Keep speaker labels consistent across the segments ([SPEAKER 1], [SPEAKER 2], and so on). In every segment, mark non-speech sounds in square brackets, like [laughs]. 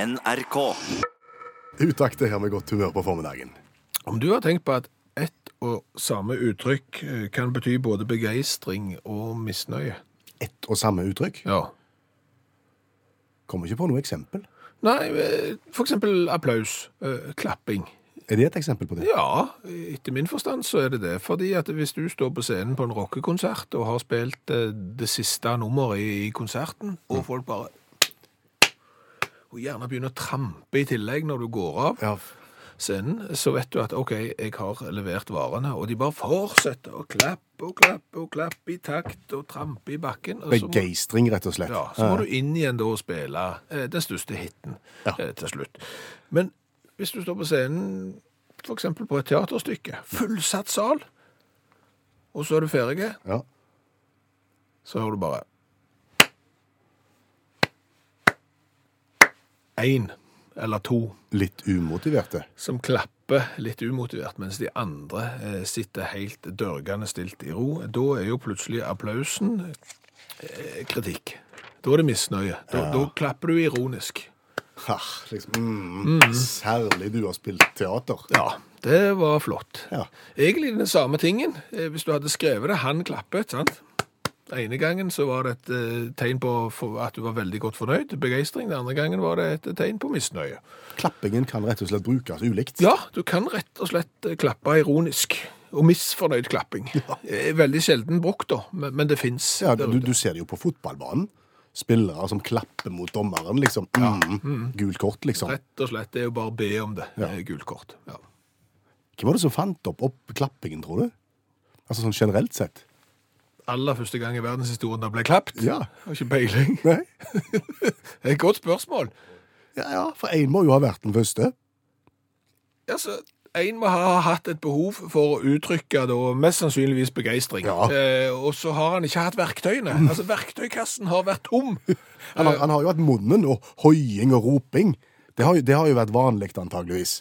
[SPEAKER 1] NRK.
[SPEAKER 2] Utakt er her med godt humør på formiddagen.
[SPEAKER 3] Om du har tenkt på at ett og samme uttrykk eh, kan bety både begeistring og misnøye?
[SPEAKER 2] Ett og samme uttrykk.
[SPEAKER 3] Ja.
[SPEAKER 2] Kommer ikke på noe eksempel.
[SPEAKER 3] Nei, eh, for eksempel applaus, eh, klapping.
[SPEAKER 2] Er det et eksempel på det?
[SPEAKER 3] Ja, etter min forstand så er det det. Fordi at hvis du står på scenen på en rockekonsert og har spilt eh, det siste nummeret i, i konserten, og folk bare Og gjerne begynner å trampe i tillegg når du går av
[SPEAKER 2] Ja.
[SPEAKER 3] scenen, så vet du at OK, jeg har levert varene. Og de bare fortsetter å klappe og klappe og klappe i takt og trampe i bakken. Og så må-
[SPEAKER 2] Begeistring, rett og slett.
[SPEAKER 3] ja, så må du inn igjen da og spille eh, den største hitten
[SPEAKER 2] Ja.
[SPEAKER 3] eh, til slutt. Men hvis du står på scenen, for eksempel på et teaterstykke, fullsatt sal, og så er du ferdig,
[SPEAKER 2] Ja.
[SPEAKER 3] så har du bare Én eller to
[SPEAKER 2] Litt umotiverte.
[SPEAKER 3] som klapper litt umotivert, mens de andre eh, sitter helt dørgende stilt i ro. Da er jo plutselig applausen eh, kritikk. Da er det misnøye. Da, da klapper du ironisk.
[SPEAKER 2] Ha, liksom, mm, Særlig du har spilt teater.
[SPEAKER 3] Ja, det var flott.
[SPEAKER 2] Ja.
[SPEAKER 3] Egentlig den samme tingen, eh, hvis du hadde skrevet det. Han klappet, sant? Den ene gangen så var det et eh, tegn på for- at du var veldig godt fornøyd, begeistring. Den andre gangen var det et tegn på misnøye.
[SPEAKER 2] Klappingen kan rett og slett brukes ulikt.
[SPEAKER 3] Ja, du kan rett og slett eh, klappe ironisk. Og misfornøyd klapping. Eh, Veldig sjelden brukt, da, men, men det fins.
[SPEAKER 2] Ja, du, du ser det jo på fotballbanen. Spillere som klapper mot dommeren, liksom. Mm, Gult kort, liksom.
[SPEAKER 3] Rett og slett. Det er jo bare å be om det.
[SPEAKER 2] Ja.
[SPEAKER 3] eh, Gult kort. Ja.
[SPEAKER 2] Hvem var det som fant opp, opp klappingen, tror du? Altså sånn generelt sett.
[SPEAKER 3] Aller første gang i verdenshistorien det ble klapt. [laughs]
[SPEAKER 2] Ja.
[SPEAKER 3] Har ikke peiling.
[SPEAKER 2] Nei.
[SPEAKER 3] Det er Et godt spørsmål.
[SPEAKER 2] Ja, ja, for én må jo ha vært den første.
[SPEAKER 3] Altså, en må ha hatt et behov for å uttrykke da, mest sannsynligvis begeistring.
[SPEAKER 2] Ja.
[SPEAKER 3] Eh, og så har han ikke hatt verktøyene.
[SPEAKER 2] [laughs]
[SPEAKER 3] Altså, Verktøykassen har vært tom.
[SPEAKER 2] Han har, han har jo hatt munnen og hoiing og roping. Det har, jo- det har jo vært vanlig, antageligvis.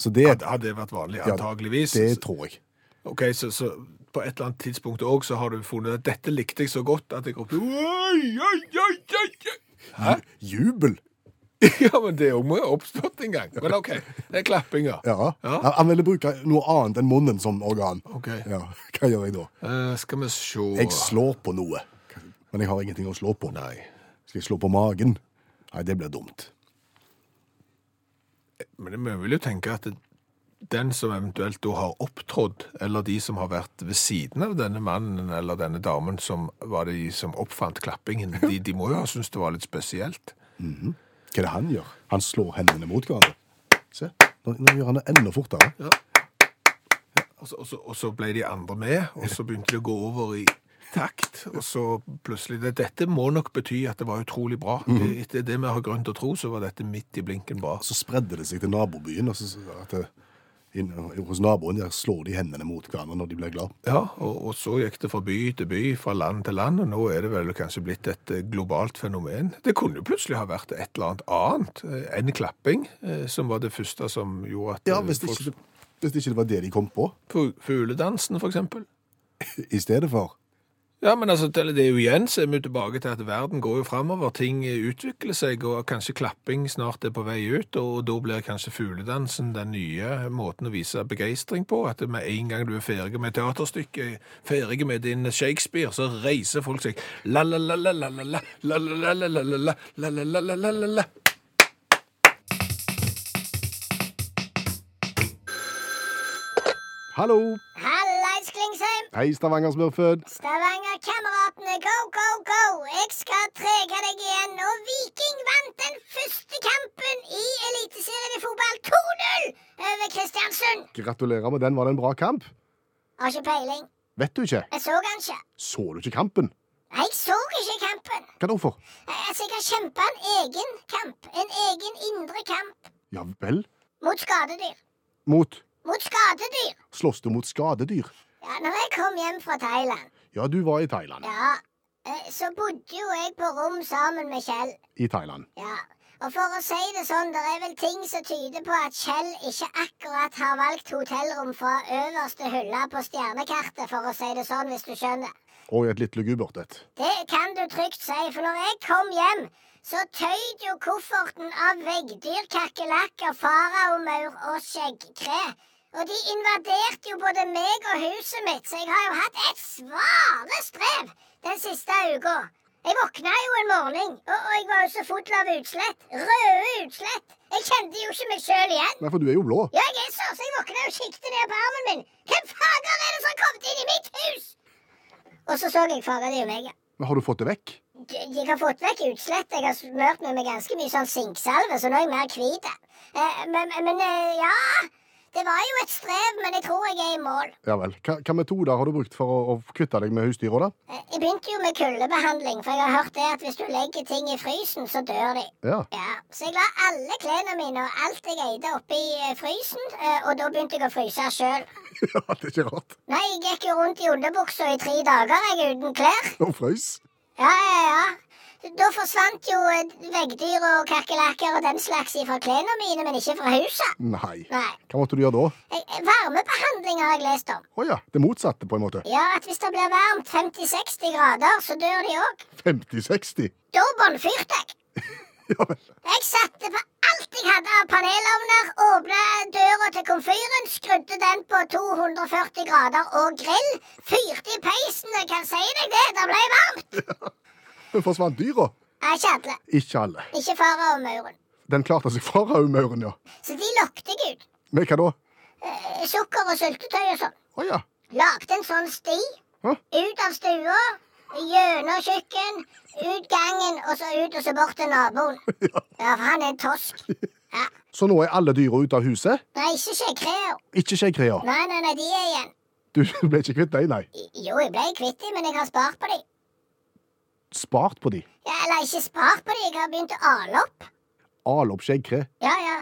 [SPEAKER 2] Så det,
[SPEAKER 3] Eh, Det hadde vært vanlig,
[SPEAKER 2] Ja,
[SPEAKER 3] antageligvis.
[SPEAKER 2] det tror jeg.
[SPEAKER 3] Ok, så, så på et eller annet tidspunkt òg så har du funnet at dette likte jeg så godt at jeg ropte «Oi, oi, oi, oi, [laughs] oi!»
[SPEAKER 2] Jubel!
[SPEAKER 3] Ja, men det òg må jo ha oppstått en gang. Men OK, det er klappinga.
[SPEAKER 2] Ja.
[SPEAKER 3] Ja.
[SPEAKER 2] Han- Han ville bruke noe annet enn munnen som organ.
[SPEAKER 3] Ok.
[SPEAKER 2] Ja, [laughs] Hva gjør jeg da?
[SPEAKER 3] Eh, skal vi se
[SPEAKER 2] Jeg slår på noe. Men jeg har ingenting å slå på.
[SPEAKER 3] Nei.
[SPEAKER 2] Skal jeg slå på magen? Nei, det blir dumt.
[SPEAKER 3] Men vi vil jo tenke at den som eventuelt da har opptrådt, eller de som har vært ved siden av denne mannen eller denne damen som var de som oppfant
[SPEAKER 2] [laughs]
[SPEAKER 3] klappingen, de, de må jo ha syntes det var litt spesielt.
[SPEAKER 2] Hva er det han gjør? Han slår hendene mot hverandre. Se, nå, nå gjør han det enda fortere.
[SPEAKER 3] Og så, og, så, og så ble de andre med, og så begynte de å gå over i takt. Og så plutselig det, Dette må nok bety at det var utrolig bra.
[SPEAKER 2] Mhm.
[SPEAKER 3] Etter det vi har grunn til å tro, så var dette midt i blinken bra.
[SPEAKER 2] Så spredde det seg til nabobyen, og så, så- at det, inn, hos naboen der slår de hendene mot hverandre når de blir glad.
[SPEAKER 3] Ja, og, og så gikk det fra by til by, fra land til land, og nå er det vel kanskje blitt et eh, globalt fenomen. Det kunne jo plutselig ha vært et eller annet annet eh, enn klapping, eh, som var det første som gjorde at
[SPEAKER 2] Ja,
[SPEAKER 3] eh,
[SPEAKER 2] hvis det
[SPEAKER 3] folk-
[SPEAKER 2] ikke, hvis det ikke var det de kom på
[SPEAKER 3] Fu- Fugledansen, for eksempel.
[SPEAKER 2] i stedet for.
[SPEAKER 3] Ja, men altså, til det er jo igjen så er vi jo tilbake til at verden går jo framover, ting utvikler seg, og kanskje klapping snart er på vei ut, og da blir kanskje fugledansen den nye måten å vise begeistring på, at med en gang du er ferdig med teaterstykket, ferdig med din Shakespeare, så reiser folk seg la la la la la la la la la la la la la la la la la la
[SPEAKER 2] Hallo!
[SPEAKER 4] Hallais, Klingsheim!
[SPEAKER 2] Hei, Stavanger-smørfød.
[SPEAKER 4] Stavanger-kameratene, go, go, go! Jeg skal trege deg igjen. Og Viking vant den første kampen i Eliteserien i fotball 2-0 over Kristiansund.
[SPEAKER 2] Gratulerer med den. Var det en bra kamp?
[SPEAKER 4] Har ikke peiling.
[SPEAKER 2] Vet du ikke?
[SPEAKER 4] Jeg så han ikke.
[SPEAKER 2] Så du ikke kampen?
[SPEAKER 4] Nei, jeg så ikke kampen.
[SPEAKER 2] Hva da for?
[SPEAKER 4] Eh, Altså, jeg har kjempa en egen kamp. En egen indre kamp.
[SPEAKER 2] Ja vel?
[SPEAKER 4] Mot skadedyr.
[SPEAKER 2] Mot
[SPEAKER 4] Mot skadedyr.
[SPEAKER 2] Slåss du mot skadedyr?
[SPEAKER 4] Ja, når jeg kom hjem fra Thailand,
[SPEAKER 2] Ja, du var i Thailand.
[SPEAKER 4] ja, eh, så bodde jo jeg på rom sammen med Kjell.
[SPEAKER 2] I Thailand.
[SPEAKER 4] Ja, og for å si det sånn, det er vel ting som tyder på at Kjell ikke akkurat har valgt hotellrom fra øverste hylle på stjernekartet, for å si det sånn, hvis du skjønner.
[SPEAKER 2] Og i et litt lugubert et.
[SPEAKER 4] Det kan du trygt si, for når jeg kom hjem, så tøyd jo kofferten av veggdyr, kakerlakker, faraomaur og skjeggkre. Og de invaderte jo både meg og huset mitt, så jeg har jo hatt et svale strev den siste uka. Jeg våkna jo en morgen, og, og jeg var jo så full av utslett. Røde utslett. Jeg kjente jo ikke meg sjøl igjen.
[SPEAKER 2] Nei, for du er jo blå.
[SPEAKER 4] Ja, jeg er så, så jeg våkna og kikket ned på armen min. Hvem fager er det som har kommet inn i mitt hus? Og så så jeg fager det er jo meg, ja.
[SPEAKER 2] Men har du fått det vekk?
[SPEAKER 4] Jeg jeg har fått vekk utslett. Jeg har smørt meg med ganske mye sånn sinksalve, så nå er jeg mer hvit. Eh, Men, men eh, ja Det var jo et strev, men jeg tror jeg er i mål.
[SPEAKER 2] Ja vel. Hva, hva metoder har du brukt for å, å kvitte deg med husdyra, da?
[SPEAKER 4] Eh, Jeg begynte jo med kuldebehandling, for jeg har hørt det at hvis du legger ting i frysen, så dør de.
[SPEAKER 2] Ja. [laughs]
[SPEAKER 4] Ja, Så jeg la alle klærne mine og alt jeg eide, oppi eh, frysen, eh, og da begynte jeg å fryse sjøl.
[SPEAKER 2] ja, det er ikke rart.
[SPEAKER 4] Nei, jeg gikk jo rundt i underbuksa i tre dager, jeg, uten klær.
[SPEAKER 2] Og frøys.
[SPEAKER 4] Ja, ja, ja. Da forsvant jo eh, veggdyr og kakerlakker og den slags fra klærne mine, men ikke fra huset.
[SPEAKER 2] Nei.
[SPEAKER 4] Nei.
[SPEAKER 2] Hva måtte du gjøre da?
[SPEAKER 4] Eh, eh, Varmebehandling har jeg lest om.
[SPEAKER 2] Å ja, det motsatte, på en måte.
[SPEAKER 4] Ja, at hvis det blir varmt 50-60 grader, så dør de òg.
[SPEAKER 2] 50-60.
[SPEAKER 4] Da bånnfyrte jeg.
[SPEAKER 2] Ja vel.
[SPEAKER 4] Jeg satte på alt jeg hadde av panelovner, åpna døra til komfyren, skrudde den på 240 grader og grill, fyrte i peisen, og jeg kan si deg det, det ble varmt.
[SPEAKER 2] Men forsvant dyra?
[SPEAKER 4] Nei, Ikke alle.
[SPEAKER 2] Ikke alle.
[SPEAKER 4] Ikke faraomauren.
[SPEAKER 2] Den klarte seg fra raumauren, ja.
[SPEAKER 4] Så de lokket jeg ut.
[SPEAKER 2] Men hva da?
[SPEAKER 4] eh, sukker og syltetøy og sånn.
[SPEAKER 2] Å ja.
[SPEAKER 4] Lagde en sånn sti
[SPEAKER 2] Hæ?
[SPEAKER 4] ut av stua, gjennom kjøkken, ut gangen og så ut og så bort til naboen.
[SPEAKER 2] [laughs] ja.
[SPEAKER 4] Ja, for han er en tosk. Ja.
[SPEAKER 2] Så nå er alle dyra ute av huset?
[SPEAKER 4] Nei, ikke skjeggkreer.
[SPEAKER 2] Ikke skjeggkrea?
[SPEAKER 4] Nei, nei, nei, de er igjen.
[SPEAKER 2] Du ble ikke kvitt dem, nei?
[SPEAKER 4] I- Jo, jeg ble kvitt dem, men jeg har spart på dem.
[SPEAKER 2] Spart på de.
[SPEAKER 4] Ja, eller ikke spart på dem, jeg har begynt å ale opp.
[SPEAKER 2] Al opp skjeggkre.
[SPEAKER 4] Ja, ja.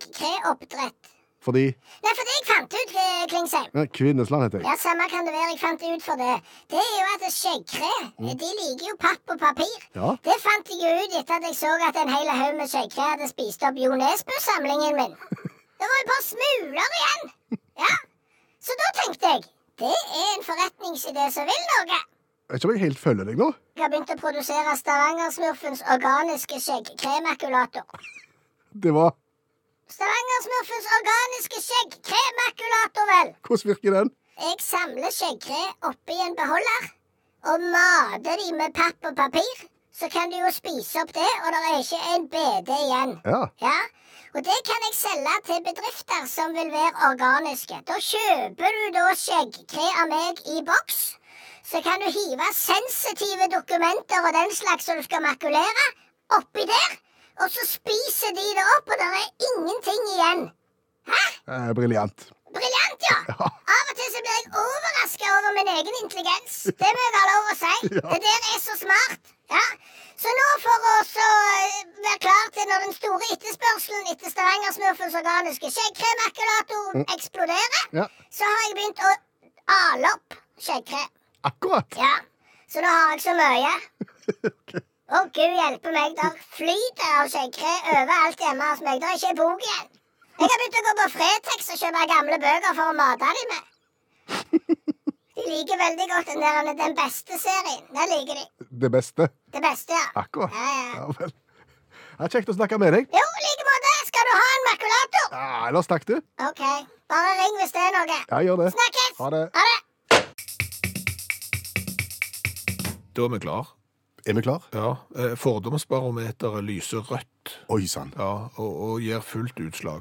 [SPEAKER 4] Skjeggkreoppdrett.
[SPEAKER 2] Fordi
[SPEAKER 4] Nei, for det jeg fant ut, eh, Klingsheim,
[SPEAKER 2] Nei, Kvinnesland heter jeg.
[SPEAKER 4] Ja, samme kan det være. Jeg fant det ut for det. Det er jo at skjeggkre
[SPEAKER 2] Mm.
[SPEAKER 4] de liker jo papp og papir.
[SPEAKER 2] Ja.
[SPEAKER 4] Det fant jeg jo ut etter at jeg så at en hel haug med skjeggkre hadde spist opp Jo Nesbø-samlingen min. Det var jo et par smuler igjen. Ja. Så da tenkte jeg det er en forretningsidé som vil noe.
[SPEAKER 2] Vet ikke om jeg helt følger deg nå.
[SPEAKER 4] Jeg har begynt å produsere Stavangersmurfens organiske skjeggkremakulator.
[SPEAKER 2] Det var
[SPEAKER 4] Stavangersmurfens organiske skjeggkremakulator, vel.
[SPEAKER 2] Hvordan virker den?
[SPEAKER 4] Jeg samler skjeggkre oppi en beholder og mater de med papp og papir. Så kan du jo spise opp det, og det er ikke en BD igjen.
[SPEAKER 2] Ja.
[SPEAKER 4] Ja, Og det kan jeg selge til bedrifter som vil være organiske. Da kjøper du da skjeggkre av meg i boks. Så kan du hive sensitive dokumenter og den slags som du skal makulere, oppi der. Og så spiser de det opp, og det er ingenting igjen.
[SPEAKER 2] Eh, Briljant.
[SPEAKER 4] Briljant, ja.
[SPEAKER 2] Ja.
[SPEAKER 4] Av og til så blir jeg overraska over min egen intelligens. Det må jeg ha lov å si.
[SPEAKER 2] [laughs] Ja.
[SPEAKER 4] Det der er så smart. Ja. Så nå for å så eh, være klar til når den store etterspørselen etter Stavangersmurfens organiske skjeggkremakulator eksploderer,
[SPEAKER 2] Mm. Ja.
[SPEAKER 4] så har jeg begynt å ale opp skjeggkre.
[SPEAKER 2] Akkurat.
[SPEAKER 4] Ja. Så nå har jeg så
[SPEAKER 2] [laughs]
[SPEAKER 4] mye.
[SPEAKER 2] Ok.
[SPEAKER 4] Å, gud hjelpe meg, der flyter av skjeggkre overalt hjemme hos meg. Det er ikke ei bok igjen. Jeg har begynt å gå på Fretex og kjøpe gamle bøker for å mate dem med. De liker veldig godt den der Den beste serien. Den liker de.
[SPEAKER 2] Det beste.
[SPEAKER 4] Det beste, ja.
[SPEAKER 2] Akkurat.
[SPEAKER 4] Ja, ja.
[SPEAKER 2] Ja vel. Ja, kjekt å snakke med deg.
[SPEAKER 4] Jo, i like måte. Skal du ha en makulator?
[SPEAKER 2] Ja, ellers takk, du.
[SPEAKER 4] OK. Bare ring hvis det er noe.
[SPEAKER 2] Ja, gjør det.
[SPEAKER 4] Snakkes!
[SPEAKER 2] Ha det.
[SPEAKER 4] Ha det.
[SPEAKER 3] Da er vi klar.
[SPEAKER 2] Er vi klar?
[SPEAKER 3] Ja. eh, Fordomsbarometeret lyser rødt
[SPEAKER 2] Oi sann.
[SPEAKER 3] ja, og, og gir fullt utslag.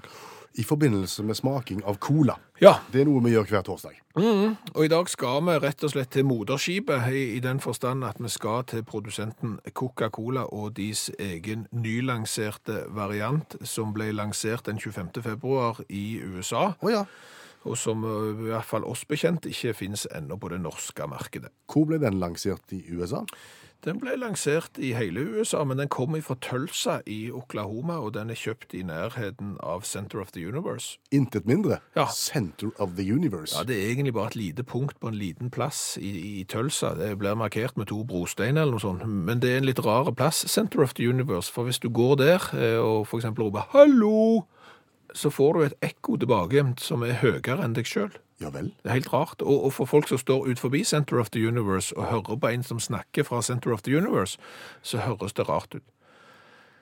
[SPEAKER 2] I forbindelse med smaking av cola.
[SPEAKER 3] Ja,
[SPEAKER 2] Det er noe vi gjør hver torsdag.
[SPEAKER 3] og i dag skal vi rett og slett til moderskipet, i, i den forstand at vi skal til produsenten Coca-Cola og deres egen nylanserte variant, som ble lansert den 25. februar i USA,
[SPEAKER 2] Å ja.
[SPEAKER 3] og som eh, i hvert fall oss bekjent ikke finnes ennå på det norske markedet.
[SPEAKER 2] Hvor ble den lansert i USA?
[SPEAKER 3] Den ble lansert i hele USA, men den kom fra Tulsa i Oklahoma, og den er kjøpt i nærheten av Center of the Universe.
[SPEAKER 2] Intet mindre.
[SPEAKER 3] Ja.
[SPEAKER 2] Center of the Universe.
[SPEAKER 3] Ja, Det er egentlig bare et lite punkt på en liten plass i, i Tulsa. Det blir markert med to brosteiner eller noe sånt, men det er en litt rar plass, Center of the Universe, for hvis du går der eh, og for eksempel roper 'hallo', så får du et ekko tilbake som er høyere enn deg sjøl.
[SPEAKER 2] Ja vel.
[SPEAKER 3] Det er helt rart. Og, og for folk som står ut forbi Center of the Universe og hører på en som snakker fra Center of the Universe, så høres det rart ut.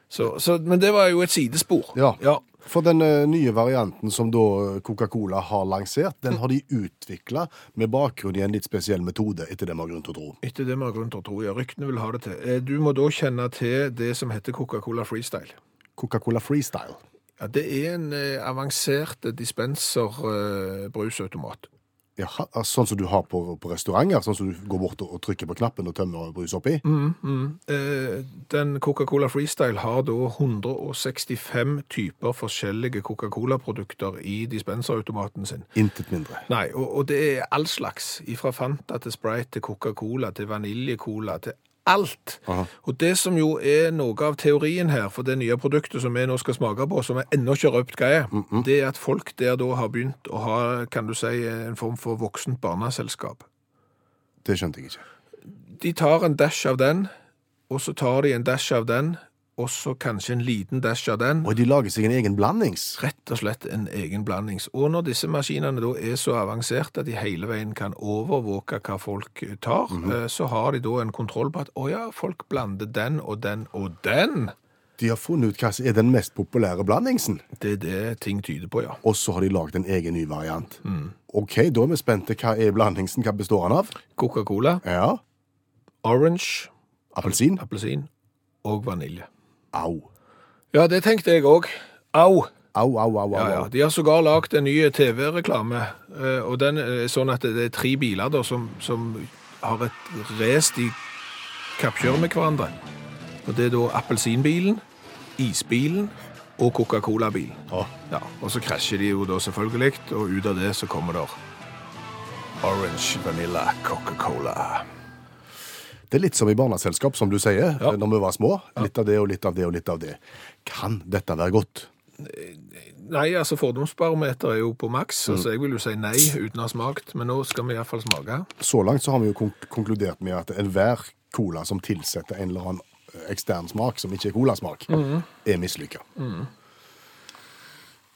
[SPEAKER 3] Så, så, men det var jo et sidespor.
[SPEAKER 2] Ja.
[SPEAKER 3] ja.
[SPEAKER 2] For den eh, nye varianten som da eh, Coca-Cola har lansert, den har de utvikla med bakgrunn i en litt spesiell metode, etter det vi har grunn til å tro.
[SPEAKER 3] Etter det vi har grunn til å tro, ja, ryktene vil ha det til. Eh, Du må da kjenne til det som heter Coca-Cola Freestyle.
[SPEAKER 2] Coca-Cola Freestyle.
[SPEAKER 3] Ja, det er en eh, avansert eh, dispenser-brusautomat.
[SPEAKER 2] Jaha, altså sånn som du har på, på restauranter? Sånn som du går bort og, og trykker på knappen og tømmer brus oppi?
[SPEAKER 3] Eh, Den Coca-Cola Freestyle har da 165 typer forskjellige Coca-Cola-produkter i dispenserautomaten sin.
[SPEAKER 2] Intet mindre.
[SPEAKER 3] Nei, og, og det er all slags. Fra Fanta til Sprite til Coca-Cola til vaniljecola til alt.
[SPEAKER 2] Aha.
[SPEAKER 3] Og det som jo er noe av teorien her for det nye produktet som vi nå skal smake på, som jeg ennå ikke har røpt hva er, det er at folk der da har begynt å ha, kan du si, en form for voksent barneselskap.
[SPEAKER 2] Det skjønte jeg ikke.
[SPEAKER 3] De tar en dash av den, og så tar de en dash av den, og så kanskje en liten dash av den,
[SPEAKER 2] Og de lager seg en egen blandings.
[SPEAKER 3] rett og slett en egen blandings. Og når disse maskinene da er så avanserte at de hele veien kan overvåke hva folk tar, eh, så har de da en kontroll på at å ja, folk blander den og den og den.
[SPEAKER 2] De har funnet ut hva som er den mest populære blandingsen,
[SPEAKER 3] Det er det ting tyder på, ja.
[SPEAKER 2] og så har de laget en egen ny variant. OK, da er vi spente. Hva er blandingsen? Hva består den av?
[SPEAKER 3] Coca-Cola,
[SPEAKER 2] Ja,
[SPEAKER 3] orange,
[SPEAKER 2] appelsin?
[SPEAKER 3] appelsin og vanilje.
[SPEAKER 2] Au.
[SPEAKER 3] Ja, det tenkte jeg òg. Au!
[SPEAKER 2] Au, au, au, au.
[SPEAKER 3] Ja, ja.
[SPEAKER 2] au.
[SPEAKER 3] De har sågar lagd en ny TV-reklame, eh, og den er sånn at det er tre biler da, som, som har et race de kappkjører med hverandre. Og det er da appelsinbilen, isbilen og Coca-Cola-bilen.
[SPEAKER 2] Å,
[SPEAKER 3] Ja, og så krasjer de jo da selvfølgelig, og ut av det så kommer der Orange Vanilla Coca-Cola.
[SPEAKER 2] Det er litt som i barneselskap, som du sier,
[SPEAKER 3] Ja.
[SPEAKER 2] når vi var små. Litt av det og litt av det og litt av det. Kan dette være godt?
[SPEAKER 3] Nei, altså fordomsbarometer er jo på maks, så jeg vil jo si nei uten å ha smakt, men nå skal vi i hvert fall smake.
[SPEAKER 2] Så langt så har vi jo konk konkludert med at enhver cola som tilsetter en eller annen ekstern smak som ikke er colasmak,
[SPEAKER 3] Mhm.
[SPEAKER 2] er mislykka.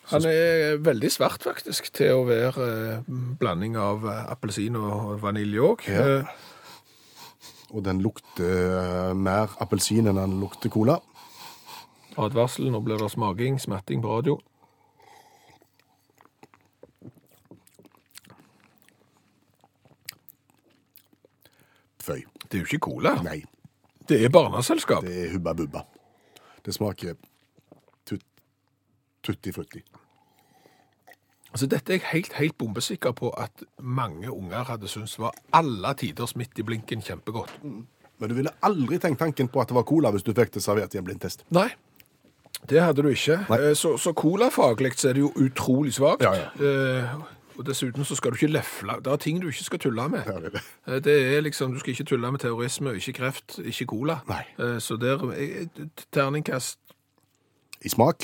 [SPEAKER 3] Han er veldig svart, faktisk, til å være eh, blanding av eh, appelsin og vanilje òg. Eh,
[SPEAKER 2] Ja. Og den lukter mer appelsin enn den lukter cola.
[SPEAKER 3] Advarsel, nå blir det smaking, smatting på radio.
[SPEAKER 2] Føy.
[SPEAKER 3] Det er jo ikke cola.
[SPEAKER 2] Nei,
[SPEAKER 3] Det er barneselskap.
[SPEAKER 2] det er hubba bubba. Det smaker tut tutti frutti.
[SPEAKER 3] Altså, dette er jeg helt, helt bombesikker på at mange unger hadde syntes var alle tiders midt i blinken kjempegodt.
[SPEAKER 2] Men du ville aldri tenkt tanken på at det var cola hvis du fikk det servert i en blindtest.
[SPEAKER 3] Nei. Det hadde du ikke.
[SPEAKER 2] Nei.
[SPEAKER 3] Eh, Så, så colafaglig så er det jo utrolig svakt.
[SPEAKER 2] Ja, ja.
[SPEAKER 3] Eh, Og dessuten så skal du ikke lefle. Det er ting du ikke skal tulle med.
[SPEAKER 2] Ja, det er det.
[SPEAKER 3] Eh, Det er liksom, Du skal ikke tulle med terrorisme, ikke kreft, ikke cola.
[SPEAKER 2] Nei.
[SPEAKER 3] Eh, Så der eh, Terningkast
[SPEAKER 2] I smak?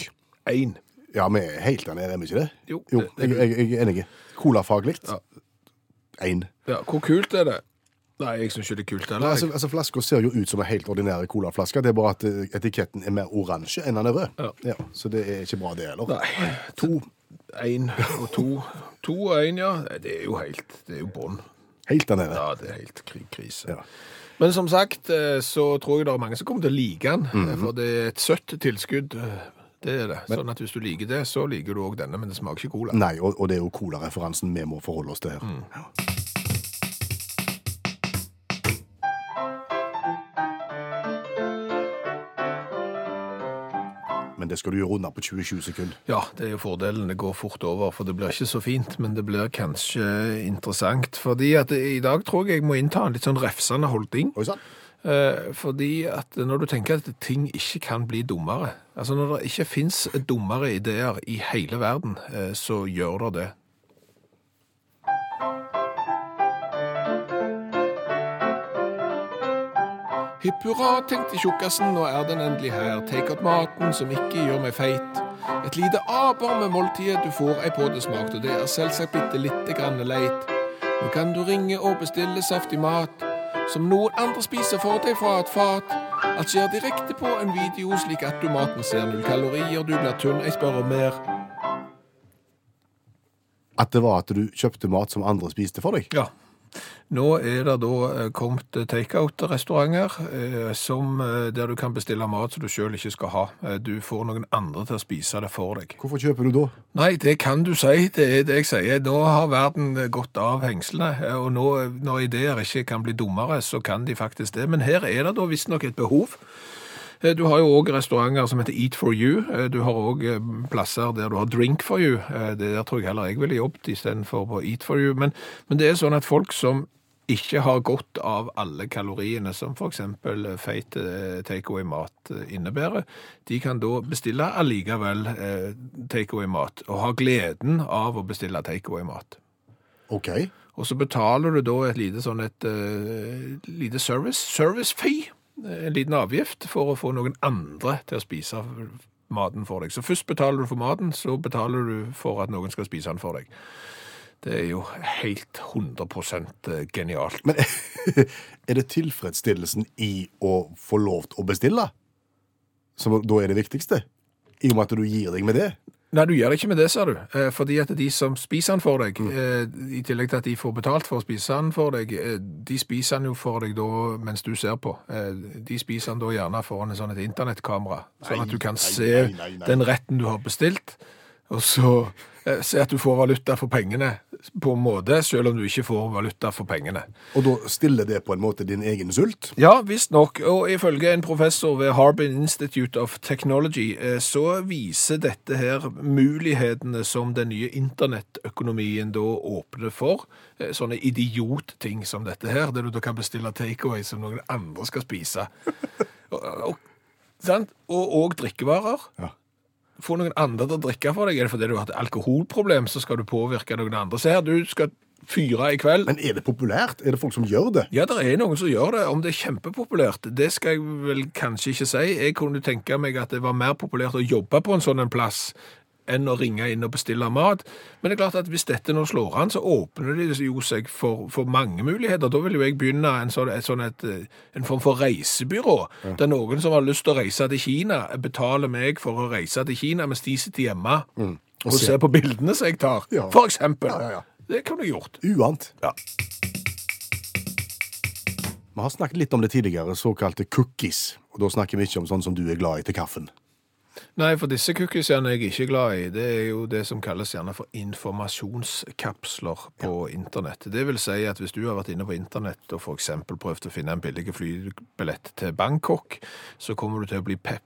[SPEAKER 3] én.
[SPEAKER 2] Ja, vi er helt enige, er vi ikke det?
[SPEAKER 3] Jo,
[SPEAKER 2] jo
[SPEAKER 3] det-
[SPEAKER 2] jeg, jeg, jeg er enig. Colafaglig?
[SPEAKER 3] Ja.
[SPEAKER 2] Én.
[SPEAKER 3] Ja, hvor kult er det? Nei, jeg syns ikke det er kult heller.
[SPEAKER 2] Altså,
[SPEAKER 3] jeg.
[SPEAKER 2] altså Flaska ser jo ut som en helt ordinær colaflaske. Det er bare at eh, etiketten er mer oransje enn den er rød.
[SPEAKER 3] Ja.
[SPEAKER 2] så det er ikke bra, det heller.
[SPEAKER 3] Nei.
[SPEAKER 2] To.
[SPEAKER 3] Én og to. To og én, ja. Nei, Det er jo helt Det er jo bånn.
[SPEAKER 2] Helt der nede.
[SPEAKER 3] Ja, det er helt kri- krise.
[SPEAKER 2] Ja.
[SPEAKER 3] Men som sagt, eh, så tror jeg det er mange som kommer til å like den,
[SPEAKER 2] Mhm.
[SPEAKER 3] eh, for det er et søtt tilskudd. eh, Det er det. Sånn at hvis du liker det, så liker du òg denne, men det smaker ikke cola.
[SPEAKER 2] Nei, og, og det er jo colareferansen vi må forholde oss til her. Men det skal du gjøre unna på 27 sekunder.
[SPEAKER 3] Ja, det er jo fordelen. Det går fort over, for det blir ikke så fint, men det blir kanskje interessant. Fordi at i dag tror jeg jeg må innta en litt sånn refsende holdning.
[SPEAKER 2] Oi sann.
[SPEAKER 3] Eh, Fordi at når du tenker at ting ikke kan bli dummere, altså når det ikke finnes dummere ideer i hele verden, eh, så gjør det det. Hipp hurra, tenkte tjukkasen, nå er den endelig her. Take out maten som ikke gjør meg feit. Et lite aber med måltidet, du får ei pådesmakt, og det er selvsagt bitte lite grann leit. Nå kan du ringe og bestille saftig mat, som noen andre spiser for deg fra et fat. Alt skjer direkte på en video, slik at du maten ser null kalorier, du blir tynn, jeg spør om mer.
[SPEAKER 2] At det var at du kjøpte mat som andre spiste for deg?
[SPEAKER 3] Ja. Nå er det da eh, kommet takeout-restauranter eh, som, eh, der du kan bestille mat som du sjøl ikke skal ha. Eh, Du får noen andre til å spise det for deg.
[SPEAKER 2] Hvorfor kjøper du da?
[SPEAKER 3] Nei, det kan du si. Det er det jeg sier. Nå har verden gått av hengslene, eh, og nå, når ideer ikke kan bli dummere, så kan de faktisk det. Men her er det da visstnok et behov. Eh, Du har jo òg restauranter som heter Eat for you. Eh, Du har òg eh, plasser der du har Drink for you. Eh, Det der tror jeg heller jeg ville jobbet istedenfor på Eat for you. Men, men det er sånn at folk som ikke har godt av alle kaloriene som f.eks. feit eh, takeaway-mat eh, innebærer. De kan da bestille allikevel eh, takeaway-mat, og ha gleden av å bestille takeaway-mat.
[SPEAKER 2] OK.
[SPEAKER 3] Og så betaler du da et lite sånn et eh, lite service, service fee, eh, en liten avgift, for å få noen andre til å spise maten for deg. Så først betaler du for maten, så betaler du for at noen skal spise den for deg. Det er jo helt 100 genialt.
[SPEAKER 2] Men [laughs] er det tilfredsstillelsen i å få lov til å bestille som da er det viktigste? I og med at du gir deg med det?
[SPEAKER 3] Nei, du gjør det ikke med det, sa du. Eh, fordi at de som spiser den for
[SPEAKER 2] Mm.
[SPEAKER 3] deg, eh, i tillegg til at de får betalt for å spise den for deg, eh, de spiser den jo for deg da mens du ser på. Eh, de spiser den da gjerne foran en sånn et internettkamera, sånn
[SPEAKER 2] Nei,
[SPEAKER 3] at du kan
[SPEAKER 2] nei,
[SPEAKER 3] se
[SPEAKER 2] nei, nei, nei.
[SPEAKER 3] den retten du har bestilt, og så eh, se at du får valuta for pengene på en måte, selv om du ikke får valuta for pengene.
[SPEAKER 2] Og da stiller det på en måte din egen sult?
[SPEAKER 3] Ja, visstnok. Og ifølge en professor ved Harbin Institute of Technology, eh, så viser dette her mulighetene som den nye internettøkonomien da åpner for. Eh, Sånne idiotting som dette her, der du da kan bestille takeaway som noen andre skal spise. Og, og, sant? og, og drikkevarer.
[SPEAKER 2] Ja.
[SPEAKER 3] Få noen andre til å drikke for deg. Er det fordi du har et alkoholproblem, så skal du påvirke noen andre. Se her, du skal fyre i kveld.
[SPEAKER 2] Men er det populært? Er det folk som gjør det?
[SPEAKER 3] Ja, det er noen som gjør det. Om det er kjempepopulært, det skal jeg vel kanskje ikke si. Jeg kunne tenke meg at det var mer populært å jobbe på en sånn en plass enn å ringe inn og bestille mat. Men det er klart at hvis dette nå slår an, så åpner det jo seg for, for mange muligheter. Da vil jo jeg begynne en, sånn, et, sånn et, eh, en form for reisebyrå. Det er noen som har lyst til å reise til Kina, betaler meg for å reise til Kina mens de sitter hjemme og,
[SPEAKER 2] Mm. se.
[SPEAKER 3] ser på bildene som jeg tar,
[SPEAKER 2] Ja.
[SPEAKER 3] for eksempel.
[SPEAKER 2] Ja, ja, ja.
[SPEAKER 3] Det kunne jeg gjort.
[SPEAKER 2] Uant.
[SPEAKER 3] Ja.
[SPEAKER 2] Vi har snakket litt om det tidligere, såkalte cookies. Og da snakker vi ikke om sånn som du er glad i til kaffen.
[SPEAKER 3] Nei, for disse cookiesene er jeg ikke glad i. Det er jo det som kalles gjerne for informasjonskapsler på internett. Det vil si at hvis du har vært inne på internett og for eksempel prøvd å finne en billig flybillett til Bangkok, så kommer du til å bli pepra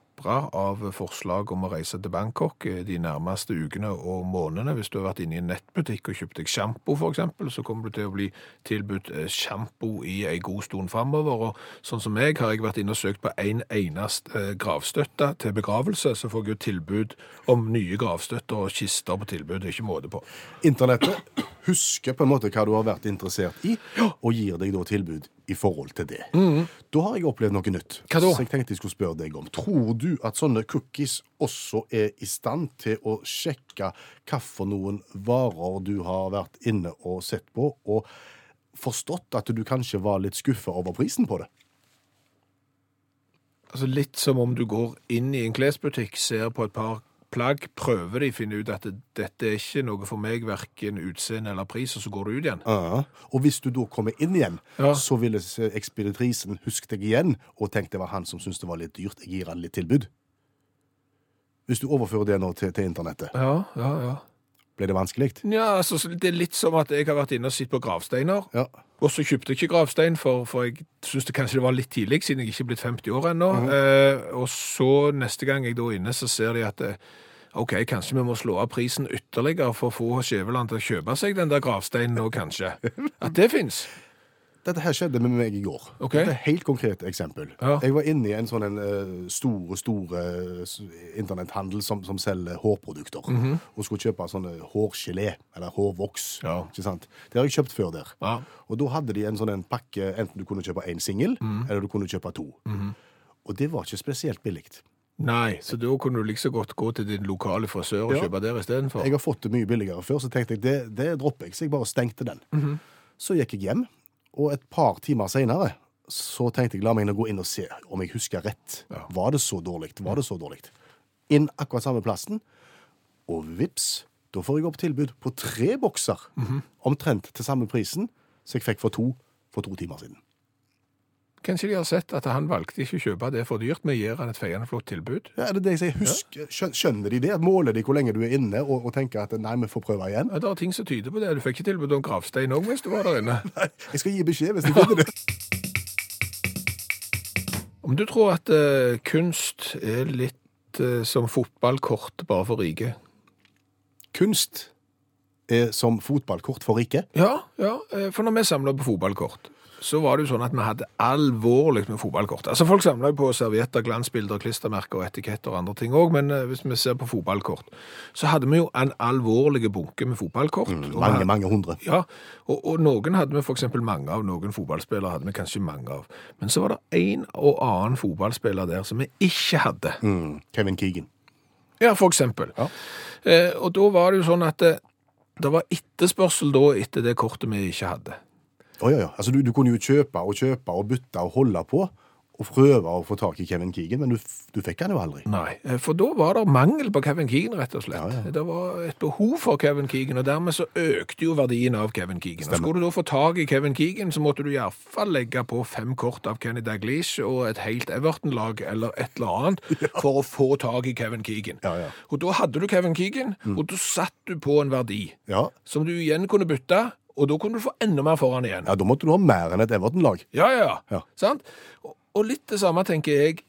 [SPEAKER 3] av forslag om å reise til Bangkok eh, de nærmeste ukene og månedene. Hvis du har vært inne i en nettbutikk og kjøpt deg sjampo, for eksempel, så kommer du til å bli tilbudt eh, sjampo i en god stund framover. Og sånn som meg har jeg vært inne og søkt på en eneste eh, gravstøtte til begravelse, så får jeg jo tilbud om nye gravstøtter og kister på tilbud. Det er ikke måte på.
[SPEAKER 2] Internettet husker på en måte hva du har vært interessert i, og gir deg da tilbud i forhold til det. Da har jeg opplevd noe nytt.
[SPEAKER 3] Mhm. Hva da?
[SPEAKER 2] Så jeg tenkte jeg skulle spørre deg om. Tror du at sånne cookies også er i stand til å sjekke hva for noen varer du har vært inne og sett på, og forstått at du kanskje var litt skuffa over prisen på det?
[SPEAKER 3] Altså Litt som om du går inn i en klesbutikk, ser på et par plagg, prøver de, finner ut at dette er ikke noe for meg, verken utseende eller pris, og så går du ut igjen.
[SPEAKER 2] Ja. Og hvis du da kommer inn igjen,
[SPEAKER 3] Ja.
[SPEAKER 2] så ville s- ekspeditrisen huske deg igjen og tenkt det var han som syntes det var litt dyrt. Jeg gir han litt tilbud. Hvis du overfører det nå til, til internettet,
[SPEAKER 3] Ja, ja, ja.
[SPEAKER 2] ble det vanskelig?
[SPEAKER 3] Ja, altså, så Det er litt som at jeg har vært inne og sett på gravsteiner.
[SPEAKER 2] Ja.
[SPEAKER 3] Og så kjøpte jeg ikke gravstein, for, for jeg syns det kanskje det var litt tidlig, siden jeg ikke er blitt 50 år ennå.
[SPEAKER 2] Mhm.
[SPEAKER 3] eh, og så neste gang jeg da er inne, så ser de at eh, OK, kanskje vi må slå av prisen ytterligere for å få Skjæveland til å kjøpe seg den der gravsteinen
[SPEAKER 2] [laughs]
[SPEAKER 3] nå, kanskje. At det fins.
[SPEAKER 2] Dette her skjedde med meg i går.
[SPEAKER 3] Ok.
[SPEAKER 2] Dette er et helt konkret eksempel.
[SPEAKER 3] Ja.
[SPEAKER 2] Jeg var inne i en sånn en eh, store, store s- internetthandel som, som selger hårprodukter.
[SPEAKER 3] Mhm.
[SPEAKER 2] Og skulle kjøpe sånne hårgelé, eller hårvoks.
[SPEAKER 3] Ja.
[SPEAKER 2] Ikke sant? Det har jeg kjøpt før der.
[SPEAKER 3] Ja.
[SPEAKER 2] Og da hadde de en sånn en pakke, enten du kunne kjøpe én singel, eller du kunne kjøpe to. Og det var ikke spesielt billigt.
[SPEAKER 3] Nei, så da kunne du like så godt gå til din lokale frisør og
[SPEAKER 2] Ja.
[SPEAKER 3] kjøpe der istedenfor.
[SPEAKER 2] Jeg har fått det mye billigere før, så tenkte jeg det, det dropper jeg, så jeg bare stengte den. Så gikk jeg hjem, og et par timer seinere så tenkte jeg la meg nå gå inn og se om jeg husker rett.
[SPEAKER 3] Ja.
[SPEAKER 2] Var det så dårlig? Var det så dårlig? Inn akkurat samme plassen, og vips, da får jeg opp tilbud på tre bokser, omtrent til samme prisen, som jeg fikk for to for to timer siden.
[SPEAKER 3] Kanskje de har sett at han valgte ikke å kjøpe det for dyrt, men gir han et feiende flott tilbud.
[SPEAKER 2] Ja, er det det jeg sier? Husk, skjøn- Skjønner de det? Måler de hvor lenge du er inne, og, og tenker at nei, vi får prøve igjen?
[SPEAKER 3] Ja, Det er ting som tyder på det. Du fikk ikke tilbud om gravstein òg mens du var der inne.
[SPEAKER 2] Jeg skal gi beskjed [laughs] hvis de finner det.
[SPEAKER 3] Om du tror at eh, kunst er litt eh, som fotballkort bare for rike?
[SPEAKER 2] Kunst er som fotballkort for riket.
[SPEAKER 3] Ja, ja, eh, for når vi samla på fotballkort, så var det jo sånn at vi hadde alvorlig med fotballkort. Altså Folk samla jo på servietter, glansbilder, klistremerker og etiketter og andre ting òg, men eh, hvis vi ser på fotballkort, så hadde vi jo en alvorlig bunke med fotballkort. og vi
[SPEAKER 2] Mange,
[SPEAKER 3] hadde-
[SPEAKER 2] mange hundre.
[SPEAKER 3] Ja, og, og noen hadde vi f.eks. mange av, noen fotballspillere hadde vi kanskje mange av. Men så var det en og annen fotballspiller der som vi ikke hadde.
[SPEAKER 2] Mm. Kevin Keegan.
[SPEAKER 3] Ja, for eksempel.
[SPEAKER 2] Ja.
[SPEAKER 3] Eh, og da var det jo sånn at det, det var etterspørsel da etter det kortet vi ikke hadde.
[SPEAKER 2] Å, ja, ja. Altså, du, du kunne jo kjøpe og kjøpe og bytte og holde på og prøve å få tak i Kevin Keegan, men du, f- du fikk han jo aldri.
[SPEAKER 3] Nei, eh, for da var det mangel på Kevin Keegan, rett og slett.
[SPEAKER 2] Ja, ja.
[SPEAKER 3] Det var et behov for Kevin Keegan, og dermed så økte jo verdien av Kevin Keegan. Og skulle du da få tak i Kevin Keegan, så måtte du i hvert fall legge på fem kort av Kenny Daglish og et helt Everton-lag eller et eller
[SPEAKER 2] [laughs]
[SPEAKER 3] annet for å få tak i Kevin Keegan.
[SPEAKER 2] Ja, Mm. ja.
[SPEAKER 3] Og da hadde du Kevin Keegan, og da satt du på en verdi
[SPEAKER 2] Ja.
[SPEAKER 3] som du igjen kunne bytte, og da kunne du få enda mer for han igjen.
[SPEAKER 2] ja, da måtte du ha mer enn et Everton-lag.
[SPEAKER 3] Ja, ja,
[SPEAKER 2] Ja.
[SPEAKER 3] ja. Sant? Og, og litt det samme tenker jeg.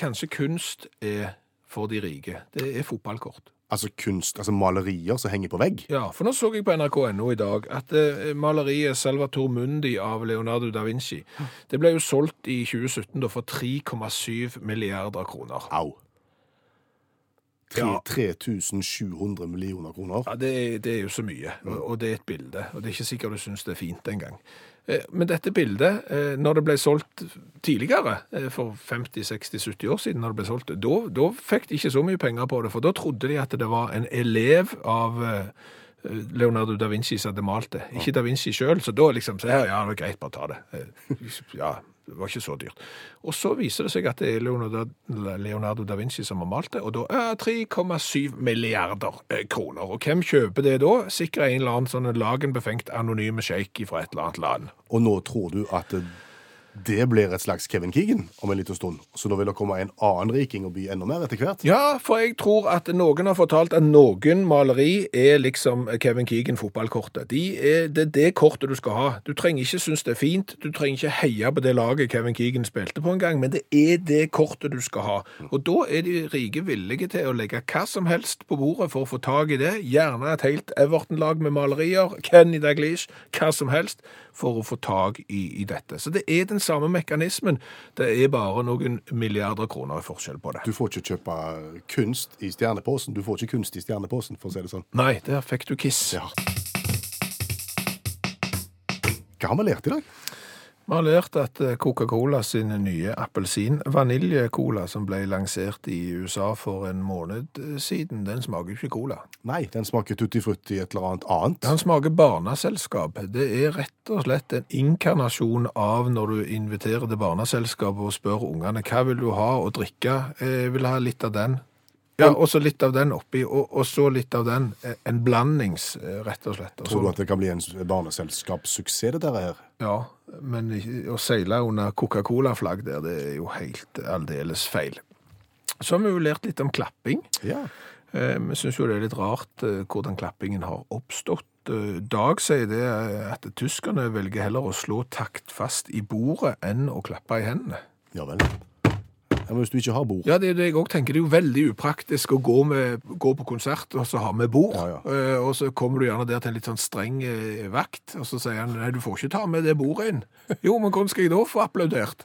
[SPEAKER 3] Kanskje kunst er for de rike. Det er fotballkort.
[SPEAKER 2] Altså kunst, altså malerier som henger på vegg.
[SPEAKER 3] Ja, for nå så jeg på nrk.no i dag at eh, maleriet Salvator Mundi av Leonardo da Vinci det ble jo solgt i 2017 da for 3,7 milliarder kroner.
[SPEAKER 2] Au. Tre-
[SPEAKER 3] Ja.
[SPEAKER 2] 3700 millioner kroner.
[SPEAKER 3] Ja, det, det er jo så mye, og, og det er et bilde. Og det er ikke sikkert du syns det er fint engang. Eh, Men dette bildet, eh, når det ble solgt tidligere, eh, for 50-60-70 år siden, når det ble solgt, da, da fikk de ikke så mye penger på det, for da trodde de at det var en elev av eh, Leonardo da Vinci som hadde malt det. Ikke da Vinci sjøl, så da liksom så her, Ja, det var greit, bare ta det. Eh, Ja, det var ikke så dyrt. Og så viser det seg at det er Leonardo, Leonardo da Vinci som har malt det, og da er 3,7 milliarder eh, kroner. Og hvem kjøper det da? Sikkert en eller annen sånn lagenbefengt anonyme sjeik fra et eller annet land.
[SPEAKER 2] Og nå tror du at eh, det blir et slags Kevin Keegan om en liten stund. Så da vil det komme en annen riking og by enda mer etter hvert.
[SPEAKER 3] Ja, for jeg tror at noen har fortalt at noen maleri er liksom Kevin Keegan-fotballkortet. De er, det er det kortet du skal ha. Du trenger ikke synes det er fint, du trenger ikke heie på det laget Kevin Keegan spilte på en gang, men det er det kortet du skal ha. Og da er de rike villige til å legge hva som helst på bordet for å få tak i det. Gjerne et helt Everton-lag med malerier, Kenny Daglish, hva som helst, for å få tak i, i dette. Så det er den samme mekanismen, det er bare noen milliarder kroner i forskjell på det.
[SPEAKER 2] Du får ikke kjøpe kunst i stjerneposen. Du får ikke kunst i stjerneposen, for å si det sånn.
[SPEAKER 3] Nei, der fikk du kiss.
[SPEAKER 2] Ja. Hva har vi lært i dag?
[SPEAKER 3] Vi har lært at eh, Coca-Cola sin nye appelsin-vaniljekola, som ble lansert i USA for en måned eh, siden, den smaker ikke cola.
[SPEAKER 2] Nei, den smaker tutti frutti et eller annet annet.
[SPEAKER 3] Den smaker barneselskap. Det er rett og slett en inkarnasjon av når du inviterer til barneselskap og spør ungene hva vil du ha å drikke. Eh, Jeg vil ha litt av den. Ja, og så litt av den oppi, og, og så litt av den. Eh, En blandings, eh, rett og slett. Og så-
[SPEAKER 2] Tror du at det kan bli en s- barneselskapssuksess, dette her?
[SPEAKER 3] Ja, men i- å seile under Coca-Cola-flagg der, det er jo helt aldeles feil. Så har vi jo lært litt om klapping.
[SPEAKER 2] Ja.
[SPEAKER 3] Eh, Vi syns jo det er litt rart eh, hvordan klappingen har oppstått. Eh, Dag sier det eh, at tyskerne velger heller å slå taktfast i bordet enn å klappe i hendene.
[SPEAKER 2] Ja vel. Ja, men hvis du ikke har bord
[SPEAKER 3] Ja, det er jo det jeg òg tenker. Det er jo veldig upraktisk å gå, med, gå på konsert og så ha med bord.
[SPEAKER 2] Ja, ja.
[SPEAKER 3] Eh, Og så kommer du gjerne der til en litt sånn streng eh, vakt, og så sier han nei, du får ikke ta med det bordet inn. [laughs] Jo, men hvordan skal jeg da få applaudert?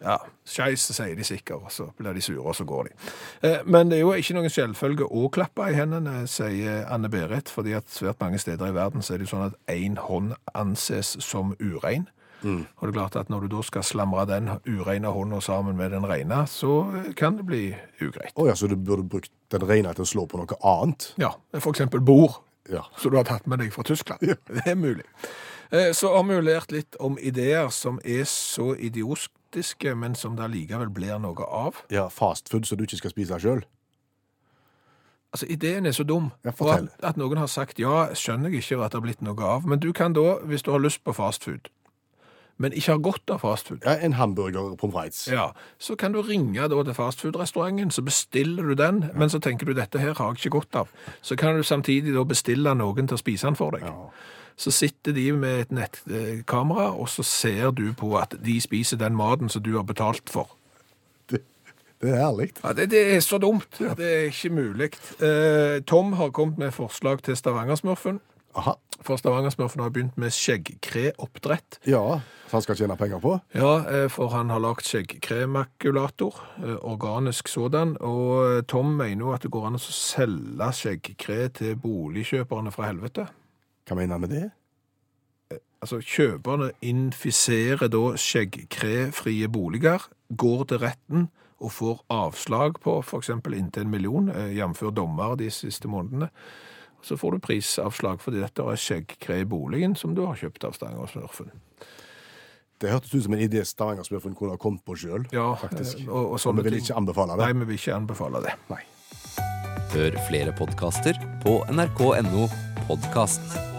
[SPEAKER 3] Ja, skeis, sier de sikkert, og så blir de sure, og så går de. Eh, Men det er jo ikke noen selvfølge å klappe i hendene, sier Anne Berit, fordi at svært mange steder i verden så er det jo sånn at én hånd anses som urein.
[SPEAKER 2] Mm.
[SPEAKER 3] Og det er klart at når du da skal slamre den ureine hånda sammen med den reine, så kan det bli ugreit.
[SPEAKER 2] Å ja, så du burde brukt den rene til å slå på noe annet?
[SPEAKER 3] Ja, for eksempel bord,
[SPEAKER 2] Ja.
[SPEAKER 3] som du har tatt med deg fra Tyskland. Det er mulig. Eh, Så har vi jo lært litt om ideer som er så idiotiske, men som det allikevel blir noe av.
[SPEAKER 2] ja Fastfood som du ikke skal spise sjøl?
[SPEAKER 3] Altså, Ideen er så dum,
[SPEAKER 2] Ja,
[SPEAKER 3] og at,
[SPEAKER 2] fortell.
[SPEAKER 3] at noen har sagt ja, skjønner jeg ikke og at det har blitt noe av. Men du kan da, hvis du har lyst på fastfood, men ikke har godt av fastfood,
[SPEAKER 2] Ja, en hamburger pommes frites.
[SPEAKER 3] ja, så kan du ringe da til fastfood-restauranten, så bestiller du den, men så tenker du dette her har jeg ikke godt av. Så kan du samtidig da bestille noen til å spise den for deg. Så sitter de med et nettkamera, og så ser du på at de spiser den maten som du har betalt for.
[SPEAKER 2] Det, det er ærlig.
[SPEAKER 3] Ja, det, det er så dumt. Det er ikke mulig. Eh, Tom har kommet med forslag til Stavangersmurfen.
[SPEAKER 2] Aha.
[SPEAKER 3] For Stavangersmurfen har begynt med skjeggkreoppdrett.
[SPEAKER 2] Ja, så han skal tjene penger på?
[SPEAKER 3] Ja, eh, for han har lagd skjeggkremakulator, eh, organisk sådan, og eh, Tom mener jo at det går an å selge skjeggkre til boligkjøperne fra helvete.
[SPEAKER 2] Hva mener han med det?
[SPEAKER 3] Altså, kjøperne infiserer da skjeggkrefrie boliger, går til retten og får avslag på f.eks. inntil en million, eh, jf. dommer de siste månedene. Så får du prisavslag fordi dette er skjeggkre i boligen som du har kjøpt av Stangersmurfen.
[SPEAKER 2] Det hørtes ut som en idé Stavanger-smurfen kunne ha kommet på sjøl.
[SPEAKER 3] Ja,
[SPEAKER 2] faktisk.
[SPEAKER 3] eh, og, og
[SPEAKER 2] Og
[SPEAKER 3] sånne
[SPEAKER 2] vi vil
[SPEAKER 3] ting.
[SPEAKER 2] ikke anbefale det.
[SPEAKER 3] Nei, vi vil ikke anbefale det.
[SPEAKER 2] Nei.
[SPEAKER 1] Hør flere podkaster på nrk.no podkast.